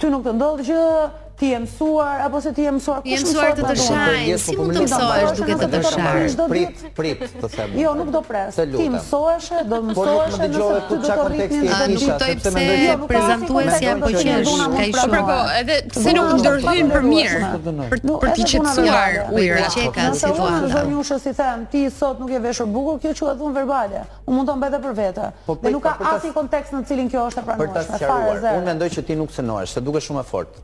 Speaker 2: ty nuk të ndodh gjë, ti je mësuar apo se ti je mësuar,
Speaker 8: Je
Speaker 2: kush
Speaker 8: mësuar të
Speaker 2: mëson
Speaker 8: të
Speaker 2: atë?
Speaker 8: shajnë,
Speaker 9: Ndjes,
Speaker 8: si
Speaker 9: po
Speaker 8: mund të
Speaker 9: përmendem
Speaker 8: mësohesh
Speaker 9: bashkë,
Speaker 8: duke të të
Speaker 2: nëse do të
Speaker 8: shajnë?
Speaker 2: shajnë. çdo
Speaker 9: Prit,
Speaker 2: ditë.
Speaker 9: prit, të them.
Speaker 2: Jo, nuk do pres.
Speaker 9: Të
Speaker 2: Ti
Speaker 9: lutem.
Speaker 2: mësohesh, do
Speaker 9: Po nuk më
Speaker 2: mësohesh
Speaker 9: dëgjove
Speaker 2: ty
Speaker 9: ku
Speaker 2: do
Speaker 9: çka
Speaker 2: të
Speaker 9: konteksti
Speaker 2: rritni
Speaker 9: e
Speaker 8: A,
Speaker 2: çdo
Speaker 8: nuk
Speaker 9: kisha,
Speaker 2: ditë.
Speaker 8: kuptoj
Speaker 9: sepse
Speaker 8: pse
Speaker 9: mendoj
Speaker 2: Jo,
Speaker 9: që
Speaker 2: nuk ka
Speaker 8: prezantuesja
Speaker 2: asnjë
Speaker 8: po
Speaker 2: kontekst,
Speaker 8: qesh,
Speaker 2: nuk
Speaker 8: ka i
Speaker 2: ka
Speaker 7: Po
Speaker 8: shumë.
Speaker 7: pra, po, edhe pse nuk
Speaker 2: Zona
Speaker 7: ndërhyjnë për mirë,
Speaker 9: ndërhyjnë.
Speaker 7: për për t'i qetësuar ujra.
Speaker 8: Që e ka
Speaker 2: Nëse unë
Speaker 8: situata.
Speaker 2: zonjë ushë si them, ti sot nuk je veshur bukur, kjo quhet dhunë verbale. Unë mund ta mbaj edhe për vete.
Speaker 9: Po,
Speaker 2: Dhe
Speaker 9: prit,
Speaker 2: nuk
Speaker 9: po,
Speaker 2: ka
Speaker 9: për ta-
Speaker 2: asnjë kontekst në cilin kjo është e
Speaker 9: për ta
Speaker 2: pranueshme. Fare
Speaker 9: sqaruar. Unë
Speaker 2: zero.
Speaker 9: mendoj që ti nuk cënohesh, se duke shumë e fortë.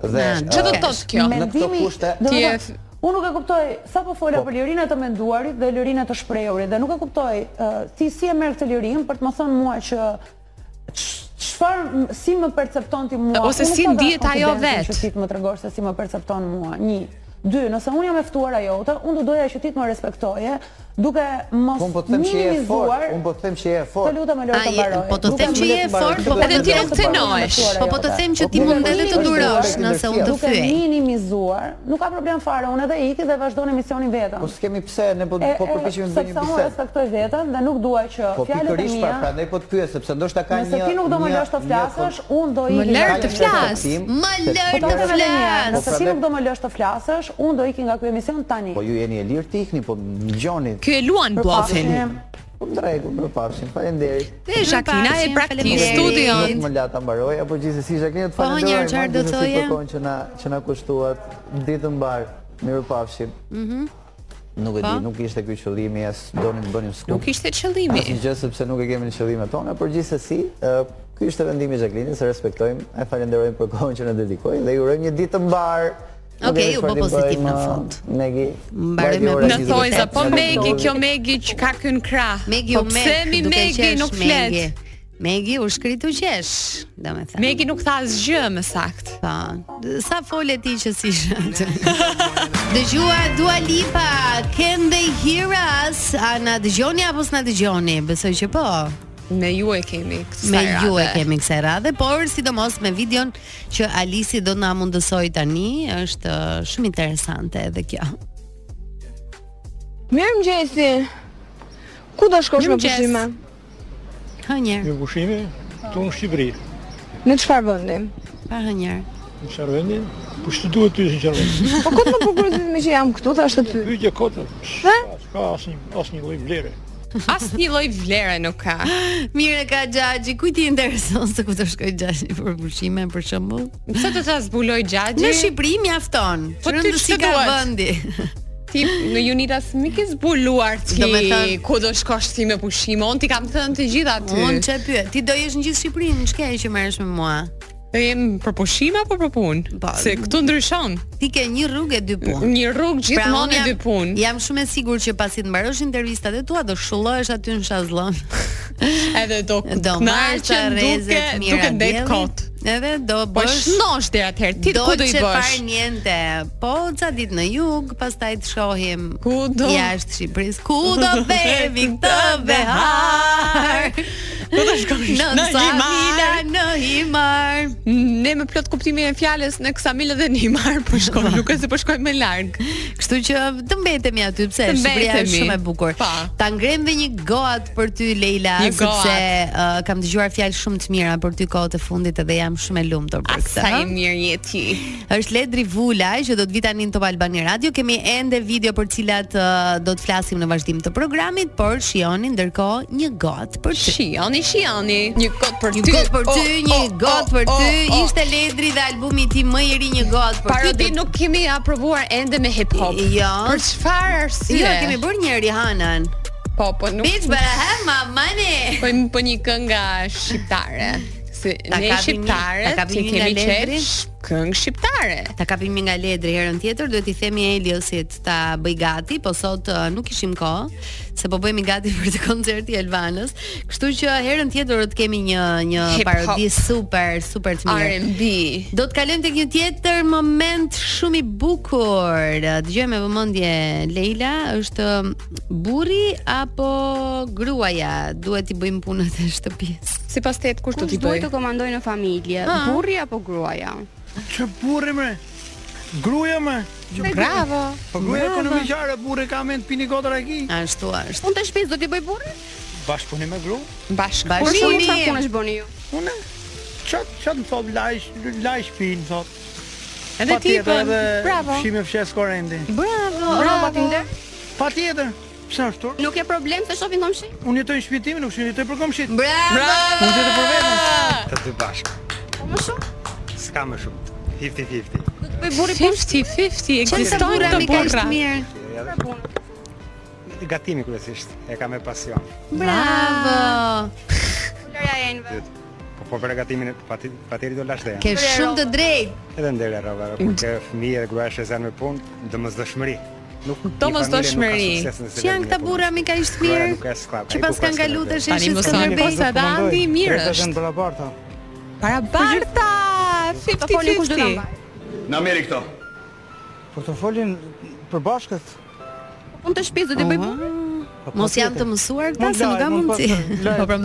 Speaker 9: Dhe
Speaker 7: Na, ç'do
Speaker 9: ë,
Speaker 7: të thotë kjo?
Speaker 9: Në këto
Speaker 2: Mendimi,
Speaker 9: kushte
Speaker 2: do
Speaker 7: Ti
Speaker 2: të
Speaker 7: je-
Speaker 2: thotë, unë nuk e kuptoj sa po fola për lirinë të menduarit dhe lirinë të shprehurit dhe nuk e kuptoj uh, si si e merr këtë lirinë për të më thënë mua që ç- çfarë m- si më percepton ti mua?
Speaker 7: Ose
Speaker 2: Unë
Speaker 7: si
Speaker 2: nuk kam
Speaker 7: ndihet
Speaker 2: as
Speaker 7: ajo
Speaker 2: konfidencën
Speaker 7: vet?
Speaker 2: Që ti të më tregosh se si më percepton mua. Një, dy, nëse unë jam e ftuara jote, unë do doja që ti të më respektoje, duke mos
Speaker 9: Unë po të them që je e
Speaker 2: minimizuar.
Speaker 9: fortë, unë po të them që je e
Speaker 2: Të
Speaker 9: fortë.
Speaker 2: lutem e lori
Speaker 8: A,
Speaker 2: të
Speaker 8: je-
Speaker 2: mbaroj.
Speaker 8: po të
Speaker 2: Duke
Speaker 8: them që
Speaker 2: mos
Speaker 8: je
Speaker 2: e
Speaker 8: e fortë, po
Speaker 2: duke mos e
Speaker 7: edhe ti nuk
Speaker 2: mbaroj të
Speaker 7: cënohesh.
Speaker 2: ftuara
Speaker 8: Po po
Speaker 2: jote.
Speaker 8: të them që ti
Speaker 9: Po,
Speaker 8: mund edhe të
Speaker 9: është
Speaker 8: durosh
Speaker 9: ndërtuar,
Speaker 8: nëse unë të
Speaker 2: duke
Speaker 8: fyej.
Speaker 2: minimizuar, nuk ka problem fare, unë edhe iki dhe vazhdon emisionin vetëm.
Speaker 9: Po s'kemi pse, ne po
Speaker 2: E,
Speaker 9: po
Speaker 2: e,
Speaker 9: përpiqemi të bëjmë
Speaker 2: sepse
Speaker 9: një
Speaker 2: unë
Speaker 9: bisedë.
Speaker 2: respektoj veten dhe nuk dua që
Speaker 9: Po
Speaker 2: fjalët e
Speaker 9: pikërisht pra,
Speaker 2: mia
Speaker 9: prandaj po të pyes sepse ndoshta ka një
Speaker 2: Nëse ti nuk do më
Speaker 9: një-
Speaker 2: lësh të
Speaker 9: një
Speaker 2: flasësh, unë do
Speaker 7: Më
Speaker 2: iki.
Speaker 7: lër
Speaker 2: nga
Speaker 7: të
Speaker 2: ky
Speaker 7: flas.
Speaker 9: konfliktim,
Speaker 8: Më
Speaker 9: se-
Speaker 8: lër
Speaker 2: emision. Po
Speaker 8: të
Speaker 2: të edhe një herë,
Speaker 8: flas.
Speaker 9: Po,
Speaker 2: nëse ti
Speaker 9: prandaj-
Speaker 2: nuk do më lësh të flasësh, unë do iki nga ky emision tani.
Speaker 9: Po ju jeni e lirë të ikni, po dëgjoni.
Speaker 7: Ky e luan bluffin.
Speaker 2: Përpafshim.
Speaker 9: Po tregu, po pafshim. Faleminderit.
Speaker 7: Dhe Jacqueline e
Speaker 8: Përpafshim,
Speaker 7: praktik
Speaker 8: faleminderit.
Speaker 7: studion.
Speaker 9: Nuk më la ta mbaroj, apo gjithsesi Jacqueline të
Speaker 8: Po,
Speaker 9: falenderoj.
Speaker 8: njerë, çfarë do thoje?
Speaker 9: Po që na që na kushtuat ditën mbar. Mirupafshim. Mhm. Nuk e di, nuk ishte ky qëllimi, as donin të bënim skuq.
Speaker 7: Nuk ishte qëllimi.
Speaker 9: Asnjë gjë sepse nuk e kemi në qëllimet tona, por gjithsesi, ë, ky ishte vendimi i Jacqueline, se respektojmë, e falenderojmë për kohën që na dedikoi dhe ju urojmë një ditë të mbar. Nuk
Speaker 8: Okej,
Speaker 9: e di
Speaker 8: u
Speaker 9: çfarë
Speaker 8: bë
Speaker 9: ti
Speaker 8: pozitiv
Speaker 9: bëjmë,
Speaker 8: në
Speaker 9: ë,
Speaker 8: fund.
Speaker 9: Megi.
Speaker 8: Mbarem
Speaker 9: bajti
Speaker 8: me
Speaker 9: ora
Speaker 7: Në
Speaker 9: 28,
Speaker 7: thojza, po
Speaker 9: na
Speaker 7: Megi,
Speaker 9: lëndoj.
Speaker 7: kjo Megi që ka kën krah.
Speaker 8: Megi
Speaker 7: po
Speaker 8: u mek,
Speaker 7: pse mi
Speaker 8: duke
Speaker 7: Megi
Speaker 8: qesh
Speaker 7: nuk flet.
Speaker 8: Megi. Megi u shkritu qesh, domethënë.
Speaker 7: Megi nuk tha asgjë më sakt.
Speaker 8: Po, sa fole ti që si shëtë *laughs* Dëgjua Dua Lipa Can they hear us A na dëgjoni apo s'na dëgjoni Besoj që po
Speaker 7: Me ju e kemi këtë
Speaker 8: Me ju e kemi kësaj radhe Por sidomos me videon Që Alisi do na mundësoj tani është eh, shumë interesante edhe kjo
Speaker 1: Mirë mëgjesi Ku do shkosh me
Speaker 8: Mirëmëngjes.
Speaker 1: pushime?
Speaker 7: *laughs*
Speaker 8: Hënjer,
Speaker 5: pushime, tu në Shqipëri,
Speaker 1: Në çfarë vëndi?
Speaker 8: pa hënjer
Speaker 5: në Qarvendi, po që duhet ty si Qarvendi?
Speaker 1: Po këtë më përgurëzit me që jam këtu, thashtë ty
Speaker 5: Pyjtje kotë, s'ka asnjë asnjë lloj vlere.
Speaker 7: Asnjë lloj vlere nuk ka.
Speaker 8: Mire ka Gjaxhi, kujt i intereson se ku do shkoj Gjaxhi për pushime për shembull?
Speaker 7: Pse do ta zbuloj gjagje?
Speaker 8: Në Shqipëri mjafton.
Speaker 7: Po
Speaker 8: Po
Speaker 7: ti
Speaker 8: ti
Speaker 7: ç'të
Speaker 8: ka
Speaker 7: duhet?
Speaker 8: vendi.
Speaker 7: Ti në Unitas më ke zbuluar ti.
Speaker 8: Do me thënë-
Speaker 7: ku do shkosh ti me pushime? Unë ti kam thënë të gjitha ty.
Speaker 8: *laughs* Unë çe pyet, ti do jesh në gjithë Shqipërinë, ç'ke që merresh me mua?
Speaker 7: E jem për pushime apo për punë?
Speaker 8: Po.
Speaker 7: Se këtu ndryshon.
Speaker 8: Ti ke një rrugë e dy punë. Pra,
Speaker 7: Një rrugë
Speaker 8: unë
Speaker 7: gjithmonë e
Speaker 8: jam-
Speaker 7: dy punë.
Speaker 8: Jam shumë e sigurt që pasi të mbarosh intervistat e tua do shullohesh aty në shazllon.
Speaker 7: Edhe do
Speaker 8: *laughs* Do marrë
Speaker 7: knaqen duke
Speaker 8: rrezet mira.
Speaker 7: duke det
Speaker 8: diellit,
Speaker 7: kot.
Speaker 8: Edhe do
Speaker 7: Po
Speaker 8: bësh
Speaker 7: shnosh deri atëherë. Ti ku do i
Speaker 8: Dolce
Speaker 7: bësh?
Speaker 8: far niente. Po ca ditë në jug, pastaj të shohim.
Speaker 7: Ku do-
Speaker 8: Jashtë Shqipërisë. Ku do
Speaker 7: *laughs*
Speaker 8: bevi këtë behar?
Speaker 7: Ku do shkosh?
Speaker 8: Në Savila, në Himar.
Speaker 7: Ne me plot kuptimin e fjalës në Ksamil dhe Nimar po
Speaker 8: *laughs*
Speaker 7: shkojmë, nuk e se po shkojmë më larg.
Speaker 8: Kështu që të mbetemi aty pse
Speaker 7: Të
Speaker 8: Shqipëria është
Speaker 7: mbetemi.
Speaker 8: shumë e bukur.
Speaker 7: Pa.
Speaker 8: Ta ngrem dhe një goat për ty Leila,
Speaker 7: Një goat.
Speaker 8: sepse uh, kam dëgjuar fjalë shumë të mira për ty kohët e fundit edhe jam shumë e lumtur për këtë.
Speaker 7: Sa i mirë je ti.
Speaker 8: Është Ledri Vulaj që do të vi tani në Top Albani Radio. Kemi ende video për cilat ë, do të flasim në vazhdim të programit, por shihoni ndërkohë një got për ty.
Speaker 7: Shioni, shioni. Një kot për ty.
Speaker 8: Një got për ty,
Speaker 7: Oh,
Speaker 8: një
Speaker 7: oh,
Speaker 8: got për
Speaker 7: oh,
Speaker 8: ty.
Speaker 7: oh, oh.
Speaker 8: Ishte Ledri dhe albumi i tij më i ri një got për ty.
Speaker 7: Parodi
Speaker 8: Do-
Speaker 7: nuk kemi aprovuar ende me hip hop.
Speaker 8: Jo.
Speaker 7: Për çfarë arsye?
Speaker 8: Jo, e kemi bërë një Rihanën.
Speaker 7: Po, po nuk.
Speaker 8: Bitch, but I have my money.
Speaker 7: *laughs* Po po një këngë nga shqiptare. Se
Speaker 8: Ta
Speaker 7: ne
Speaker 8: kapim një-
Speaker 7: shqiptare,
Speaker 8: ta kapim
Speaker 7: ti
Speaker 8: një
Speaker 7: kemi
Speaker 8: nga Ledri?
Speaker 7: qesh këngë shqiptare.
Speaker 8: Ta kapim një nga Ledri herën tjetër, duhet i themi Eliosit ta bëj gati, po sot ë, nuk kishim kohë, se po bëhemi gati *laughs* për të koncerti i Elvanës. Kështu që herën tjetër do të kemi një një
Speaker 7: Hip hop.
Speaker 8: parodi super super të mirë.
Speaker 7: R&B.
Speaker 8: Do të kalojmë tek një tjetër moment shumë i bukur. Dëgjojmë me vëmendje Leila, është um, burri apo gruaja? Duhet i bëjmë punët e shtëpisë.
Speaker 7: Sipas tet kush do t'i bëj?
Speaker 1: komandoj në familje? Burri apo gruaja?
Speaker 5: Që burri më? Gruja më?
Speaker 7: Bravo.
Speaker 5: Po gruja ekonomikare, burri ka mend pini kodra e ki.
Speaker 8: Ashtu është.
Speaker 1: Unë të shpes do t'i bëj burri?
Speaker 5: Bashkëpunim me gru?
Speaker 1: Unë
Speaker 8: Bashkëpunim.
Speaker 1: çfarë punësh bëni ju?
Speaker 5: Unë? Çat çat më thot lajsh, lajsh pin thot.
Speaker 7: Edhe ti
Speaker 5: Patjetër,
Speaker 7: bën.
Speaker 5: edhe
Speaker 7: Bravo.
Speaker 5: Shime fshes korendi.
Speaker 8: Bravo.
Speaker 1: Roba Tinder?
Speaker 5: Patjetër. Pse ashtu?
Speaker 1: Nuk e problem se shohin komshi?
Speaker 5: Unë jetoj në shtëpi time, nuk jetoj për komshit.
Speaker 8: Bravo.
Speaker 5: Unë jetoj për veten.
Speaker 10: Të dy bashkë.
Speaker 1: Po, Më shumë?
Speaker 10: S'ka më shumë. 50-50.
Speaker 1: Do të bëj burri punë
Speaker 7: 50-50
Speaker 8: Çfarë të
Speaker 7: ekzistojnë
Speaker 8: burra
Speaker 7: të
Speaker 8: mi ka
Speaker 7: burra.
Speaker 8: ishtë mirë.
Speaker 10: Gatimi kryesisht. E ka me pasion.
Speaker 8: Bravo.
Speaker 1: Lëria e enve.
Speaker 10: Po po për gatimin e pati- patjetër do lash janë.
Speaker 8: Ke shumë të drejtë.
Speaker 10: Edhe ndere rrova, kur ke fëmijë dhe grua shëzan me punë, domosdoshmëri. Nuk një
Speaker 7: Domosdoshmëri.
Speaker 10: familje nuk ka sukses nëse
Speaker 8: Që janë
Speaker 10: vetëm me
Speaker 8: këta
Speaker 10: punë.
Speaker 8: burra mi ka ishtë
Speaker 10: Gruaja
Speaker 8: mirë
Speaker 10: nuk ka skllap,
Speaker 8: Që
Speaker 10: ai
Speaker 8: pas
Speaker 10: po
Speaker 8: kanë
Speaker 10: ka
Speaker 8: galu të
Speaker 10: skllap.
Speaker 7: Tani
Speaker 8: sheshë
Speaker 7: mos
Speaker 8: Skënderbej
Speaker 7: Pas Adam, i mirë është.
Speaker 11: barabarta.
Speaker 7: Para Barta, 50-50.
Speaker 11: Na merri këto. Po të folin përbashkët.
Speaker 12: Unë të shtëpisë do t'i bëj burr.
Speaker 7: po
Speaker 8: Mos janë të mësuar këta se nuk ka mundësi.
Speaker 7: pra,
Speaker 10: jo, po,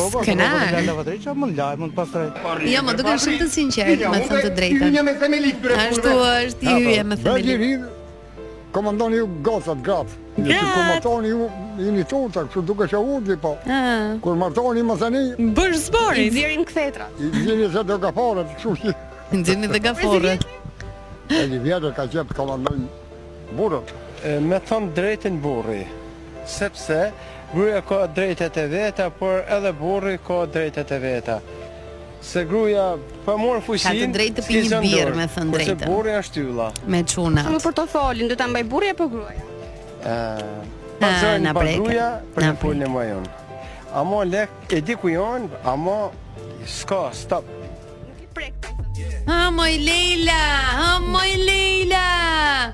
Speaker 11: Lavatriça mund laj, mund pastroj.
Speaker 8: Jo, më duken shumë të sinqertë,
Speaker 10: jo,
Speaker 8: me thënë të drejtën.
Speaker 13: Hynja me themeli këtyre
Speaker 8: Ashtu është
Speaker 10: po,
Speaker 8: i hyje me themeli.
Speaker 13: Komandoni ju gocat gat. Ju
Speaker 8: Gat!
Speaker 13: komandoni ju jeni tuta, kështu duke që urdhi po. Kur martoni më tani
Speaker 7: Bër
Speaker 12: I nxjerrin kthetrat.
Speaker 13: I vjeni se do gaforët, kështu që
Speaker 8: Nxjerrni dhe gaforët.
Speaker 13: E një vjetër ka qep komandon burrët.
Speaker 11: Me thon drejtin burri, sepse gruaja ka drejtet e veta, por edhe burri ka drejtet e veta. Se gruaja pa marr fuqin.
Speaker 8: Ka të drejtë të pi një birë, me thënë drejtën.
Speaker 11: Kurse burri është ylla.
Speaker 8: Me çuna.
Speaker 12: Shumë për të folin, do ta mbaj burri apo gruaja?
Speaker 11: Ë,
Speaker 12: Ah,
Speaker 11: Pazojnë
Speaker 12: na
Speaker 11: pa
Speaker 12: preke.
Speaker 11: gruaja për
Speaker 12: Na
Speaker 11: të punë më jon. Amo lek e di ku jon, amo s'ka stop.
Speaker 8: Ha moj Leila, ha moj Leila.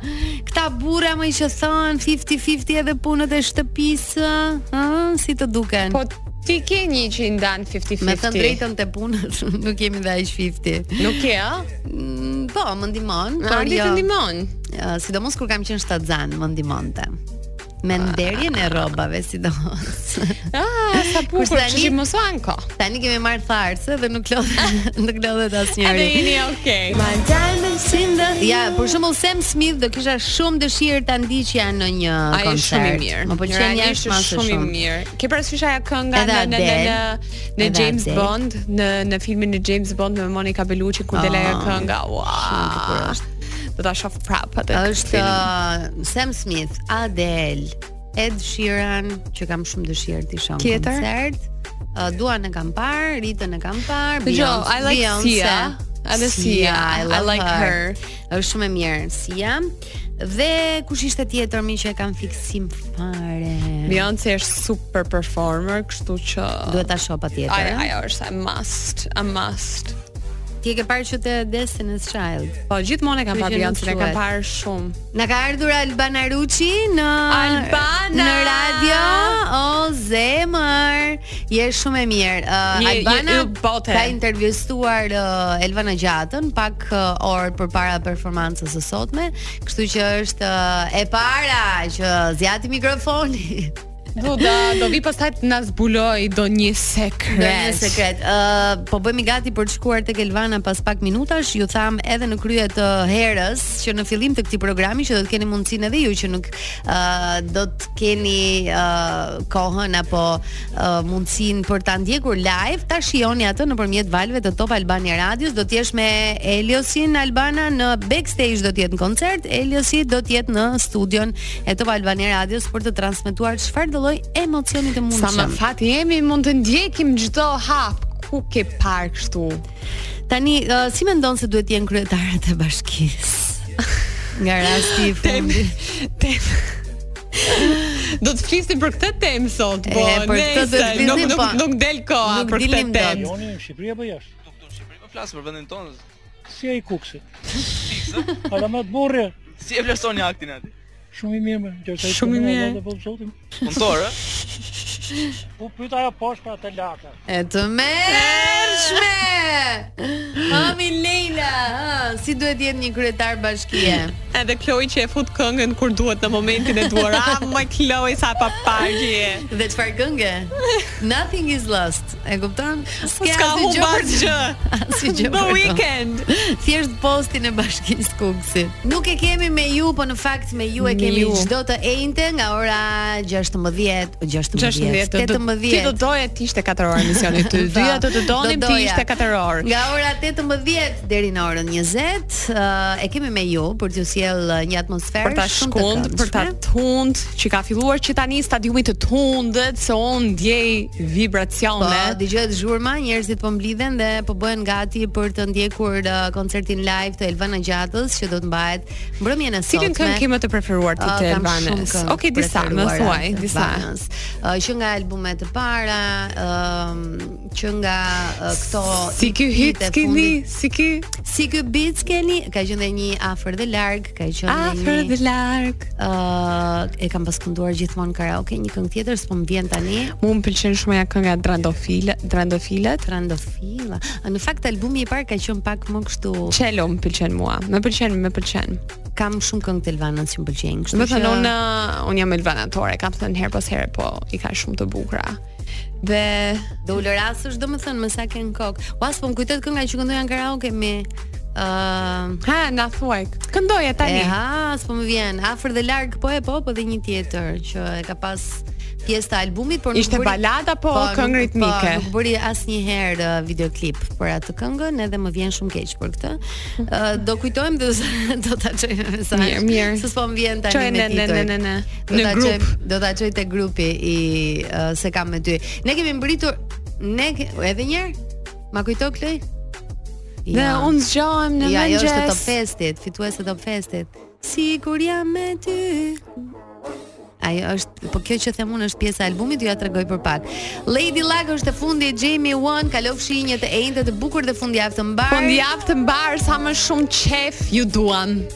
Speaker 8: Këta burra më që thon 50-50 edhe punët e shtëpisë, ha, si të duken.
Speaker 7: Po ti ke një që i ndan 50-50.
Speaker 8: Me thënë drejtën të punës, *laughs* nuk jemi dhe aq 50.
Speaker 7: Nuk je, a?
Speaker 8: Mm, Po, më ndihmon,
Speaker 7: A,
Speaker 8: por
Speaker 7: ndi
Speaker 8: jo.
Speaker 7: Ah, të ndihmon?
Speaker 8: Ja, sidomos kur kam qenë shtatzan, më ndihmonte. Me nderjen e rrobave
Speaker 7: *laughs*
Speaker 8: sidomos.
Speaker 7: Ah, sa bukur, që që mos anko.
Speaker 8: Tani kemi marr tharse dhe nuk lodhet, *laughs* nuk lodhet asnjëri.
Speaker 7: Edhe jeni okay.
Speaker 8: My diamonds in the Ja, për shembull Sam Smith do kisha shumë dëshirë ta ndiqja në një
Speaker 7: Ai është
Speaker 8: koncert.
Speaker 7: shumë i mirë.
Speaker 8: Më pëlqen
Speaker 7: Realisht
Speaker 8: po jashtë
Speaker 7: është
Speaker 8: masë
Speaker 7: shumë i mirë. Ke parasysh ajo kënga në në në në, në
Speaker 8: Edhe
Speaker 7: James
Speaker 8: Adele.
Speaker 7: Bond, në në filmin e James Bond me Monica Bellucci kur del ajo
Speaker 8: Ah,
Speaker 7: kënga.
Speaker 8: shumë e bukur
Speaker 7: Ua. Do ta shoh prapë atë.
Speaker 8: Është uh, Sam Smith, Adele, Ed Sheeran, që kam shumë dëshirë të shoh në
Speaker 7: Tjetër?
Speaker 8: koncert. Uh, Duan e kam parë, Ritën e kam parë,
Speaker 7: Jo,
Speaker 8: Beyoncé.
Speaker 7: I like
Speaker 8: Beyoncé.
Speaker 7: Sia. Edhe Sia, I
Speaker 8: love
Speaker 7: like her.
Speaker 8: Është shumë e mirë Sia. Dhe kush ishte tjetër mi që e kam fiksim fare?
Speaker 7: Beyoncé është super performer, kështu që
Speaker 8: Duhet ta shoh patjetër.
Speaker 7: Ajo ajo është a must, a must.
Speaker 8: Ti e ke parë që të Destiny's Child.
Speaker 7: Po gjithmonë e kam parë Beyoncé, e kam parë shumë.
Speaker 8: Na ka ardhur Albana Ruçi në
Speaker 7: Albana!
Speaker 8: në radio. O zemër, je shumë e mirë. Uh,
Speaker 7: Je- je
Speaker 8: Albana
Speaker 7: u bote.
Speaker 8: ka intervistuar uh, Elvana Gjatën pak uh, orë përpara performancës së sotme, kështu që është uh, e para që zjati mikrofoni. *laughs*
Speaker 7: Do da, do vi pastaj të na zbuloj do një sekret.
Speaker 8: Do një sekret. Ë, po bëhemi gati për të shkuar tek Elvana pas pak minutash. Ju tham edhe në krye të herës që në fillim të këtij programi që do të keni mundësinë edhe ju që nuk ë do të keni ë kohën apo ë, mundësinë për ta ndjekur live, ta shihoni atë nëpërmjet valve të Top Albania Radios. Do të jesh me Eliosin Albana në backstage do të jetë në koncert, Eliosi do të jetë në studion e Top Albania Radios për të transmetuar çfarë do lloj emocioni
Speaker 7: Sa
Speaker 8: të mundshëm.
Speaker 7: më fat jemi mund të ndjekim çdo hap ku ke parë kështu.
Speaker 8: Tani uh, si mendon se duhet të jenë kryetarët e
Speaker 14: *laughs*
Speaker 8: bashkisë? Nga rasti i fundit.
Speaker 7: Do të flisim për këtë temë sot,
Speaker 8: E,
Speaker 7: po.
Speaker 8: për këtë do të
Speaker 7: nejse, nuk,
Speaker 8: flisim,
Speaker 7: nuk,
Speaker 8: po.
Speaker 7: nuk del
Speaker 14: Ah,
Speaker 7: koha
Speaker 8: Nuk
Speaker 7: për këtë
Speaker 8: dilim dot.
Speaker 7: temë.
Speaker 14: Joni në Shqipëri apo jashtë?
Speaker 15: Po flas për vendin tonë.
Speaker 14: Si ai kuksi? *laughs* Ala më të burrë,
Speaker 15: Si e vlerësoni aktin atë?
Speaker 14: shumë i mirë më. Gjergj,
Speaker 15: Shumë i
Speaker 14: punon,
Speaker 15: mirë.
Speaker 14: Allah të bëjë zotin.
Speaker 15: Punëtor,
Speaker 14: *laughs*
Speaker 15: ë?
Speaker 14: Po pyet ajo poshtë për atë laka.
Speaker 8: E të
Speaker 14: *laughs*
Speaker 8: mërshme! Mami Leila, ha, si duhet jetë një kryetar bashkie?
Speaker 14: *laughs*
Speaker 7: Edhe Kloj që e fut këngën kur duhet në momentin e duar. *laughs* Ah, my Kloj sa pa parje.
Speaker 8: Dhe çfarë
Speaker 7: *laughs*
Speaker 8: këngë? Nothing is lost. E kupton?
Speaker 7: S'ka
Speaker 8: asnjë
Speaker 7: humbar
Speaker 8: për të-
Speaker 7: gjë.
Speaker 8: *laughs*
Speaker 7: *laughs*
Speaker 8: Asnjë gjë.
Speaker 7: The
Speaker 8: për të.
Speaker 7: Weeknd.
Speaker 8: Thjesht postin e Bashkisë Kuksit. Nuk e kemi me ju, po në fakt me ju e
Speaker 7: Me
Speaker 8: kemi
Speaker 7: ju.
Speaker 8: çdo të ejnte nga ora 16, 16,
Speaker 7: 16, do-
Speaker 8: 18.
Speaker 7: Ti do doje të ishte 4 *laughs* orë emisioni ty. Dyja Pra, do të donim
Speaker 8: Do
Speaker 7: ti
Speaker 8: doja.
Speaker 7: ishte 4 orë.
Speaker 8: Nga ora 18 deri në orën 20 Flet uh, e kemi me ju për t'ju sjell uh, një atmosferë
Speaker 7: Për ta
Speaker 8: shumë të
Speaker 7: shkund, për ta
Speaker 8: këndshme.
Speaker 7: tund, që ka filluar që tani stadiumi të tundet, se on ndjej
Speaker 8: Po,
Speaker 7: vibracione.
Speaker 8: dëgjohet zhurma, njerëzit po mblidhen dhe po bëhen gati për të ndjekur uh, koncertin live të Elvana Gjatës që do të mbahet mbrëmjen e sotme.
Speaker 7: Cilin këngë ke më të preferuar ti
Speaker 8: Ah,
Speaker 7: të
Speaker 8: kam shumë
Speaker 7: Elvanës?
Speaker 8: këngë
Speaker 7: Okej, disa, më
Speaker 8: preferuara
Speaker 7: thuaj,
Speaker 8: të
Speaker 7: disa.
Speaker 8: Elvanës. Uh, që nga albumet e para, ëm, që nga uh, këto
Speaker 7: Si ky hit
Speaker 8: e
Speaker 7: keni,
Speaker 8: fundit.
Speaker 7: si ky
Speaker 8: Si ky beat keni, ka qenë dhe një afër dhe larg, ka qenë
Speaker 7: Afër dhe larg.
Speaker 8: Ë e kam pas kënduar gjithmonë karaoke, një këngë tjetër s'po më vjen tani.
Speaker 7: Mu më pëlqen shumë ja kënga Drandofile, Drandofilet.
Speaker 8: Drandofila. Në fakt albumi i parë ka qenë pak më kështu.
Speaker 7: Çelo më pëlqen mua. Më pëlqen, më pëlqen.
Speaker 8: Kam shumë këngë të Elvanës që më pëlqejnë, kështu
Speaker 7: Do të
Speaker 8: që-
Speaker 7: thënë unë un jam elvanatore, kam thënë herë pas here, po i ka shumë të bukura. Dhe
Speaker 8: do ulë rastësh domethënë me sa ken kok. Uas po më kujtet kënga që këndoja në karaoke me ë
Speaker 7: ha na thuaj. Këndoje tani.
Speaker 8: E ha, s'po më vjen. Afër dhe larg po e po, po dhe një tjetër që e ka pas pjesë të albumit, por nuk
Speaker 7: Ishte
Speaker 8: bëri-
Speaker 7: balada, po këngë
Speaker 8: nuk-
Speaker 7: ritmike.
Speaker 8: Po, nuk bëri asnjëherë uh, videoklip për atë këngën, edhe më vjen shumë keq për këtë. Uh, do kujtojmë dhe *laughs* do ta çojmë mesazh.
Speaker 7: Mirë, mirë.
Speaker 8: Se s'po më vjen tani
Speaker 7: Çoj
Speaker 8: me
Speaker 7: në- në-
Speaker 8: titull.
Speaker 7: në- në- në-
Speaker 8: Do
Speaker 7: në
Speaker 8: ta
Speaker 7: grup.
Speaker 8: çoj do ta çoj te grupi i uh, se kam me ty. Ne kemi mbritur ne ke- edhe një herë. Ma kujto Kloj?
Speaker 7: Dhe unë zgjohem në
Speaker 8: ja, Ja, ajo është
Speaker 7: mëngjes.
Speaker 8: e Top Festit, fituese e Top Festit. Sigur jam me ty. Ajo është, po kjo që them unë është pjesa e albumit, ju ja tregoj për pak. Lady Luck është e fundi e Jamie Wan, kalofshi
Speaker 7: Po
Speaker 8: një të enjtë të bukur dhe fundjavë të mbar.
Speaker 7: Fundjavë të mbar sa më shumë qef ju duam.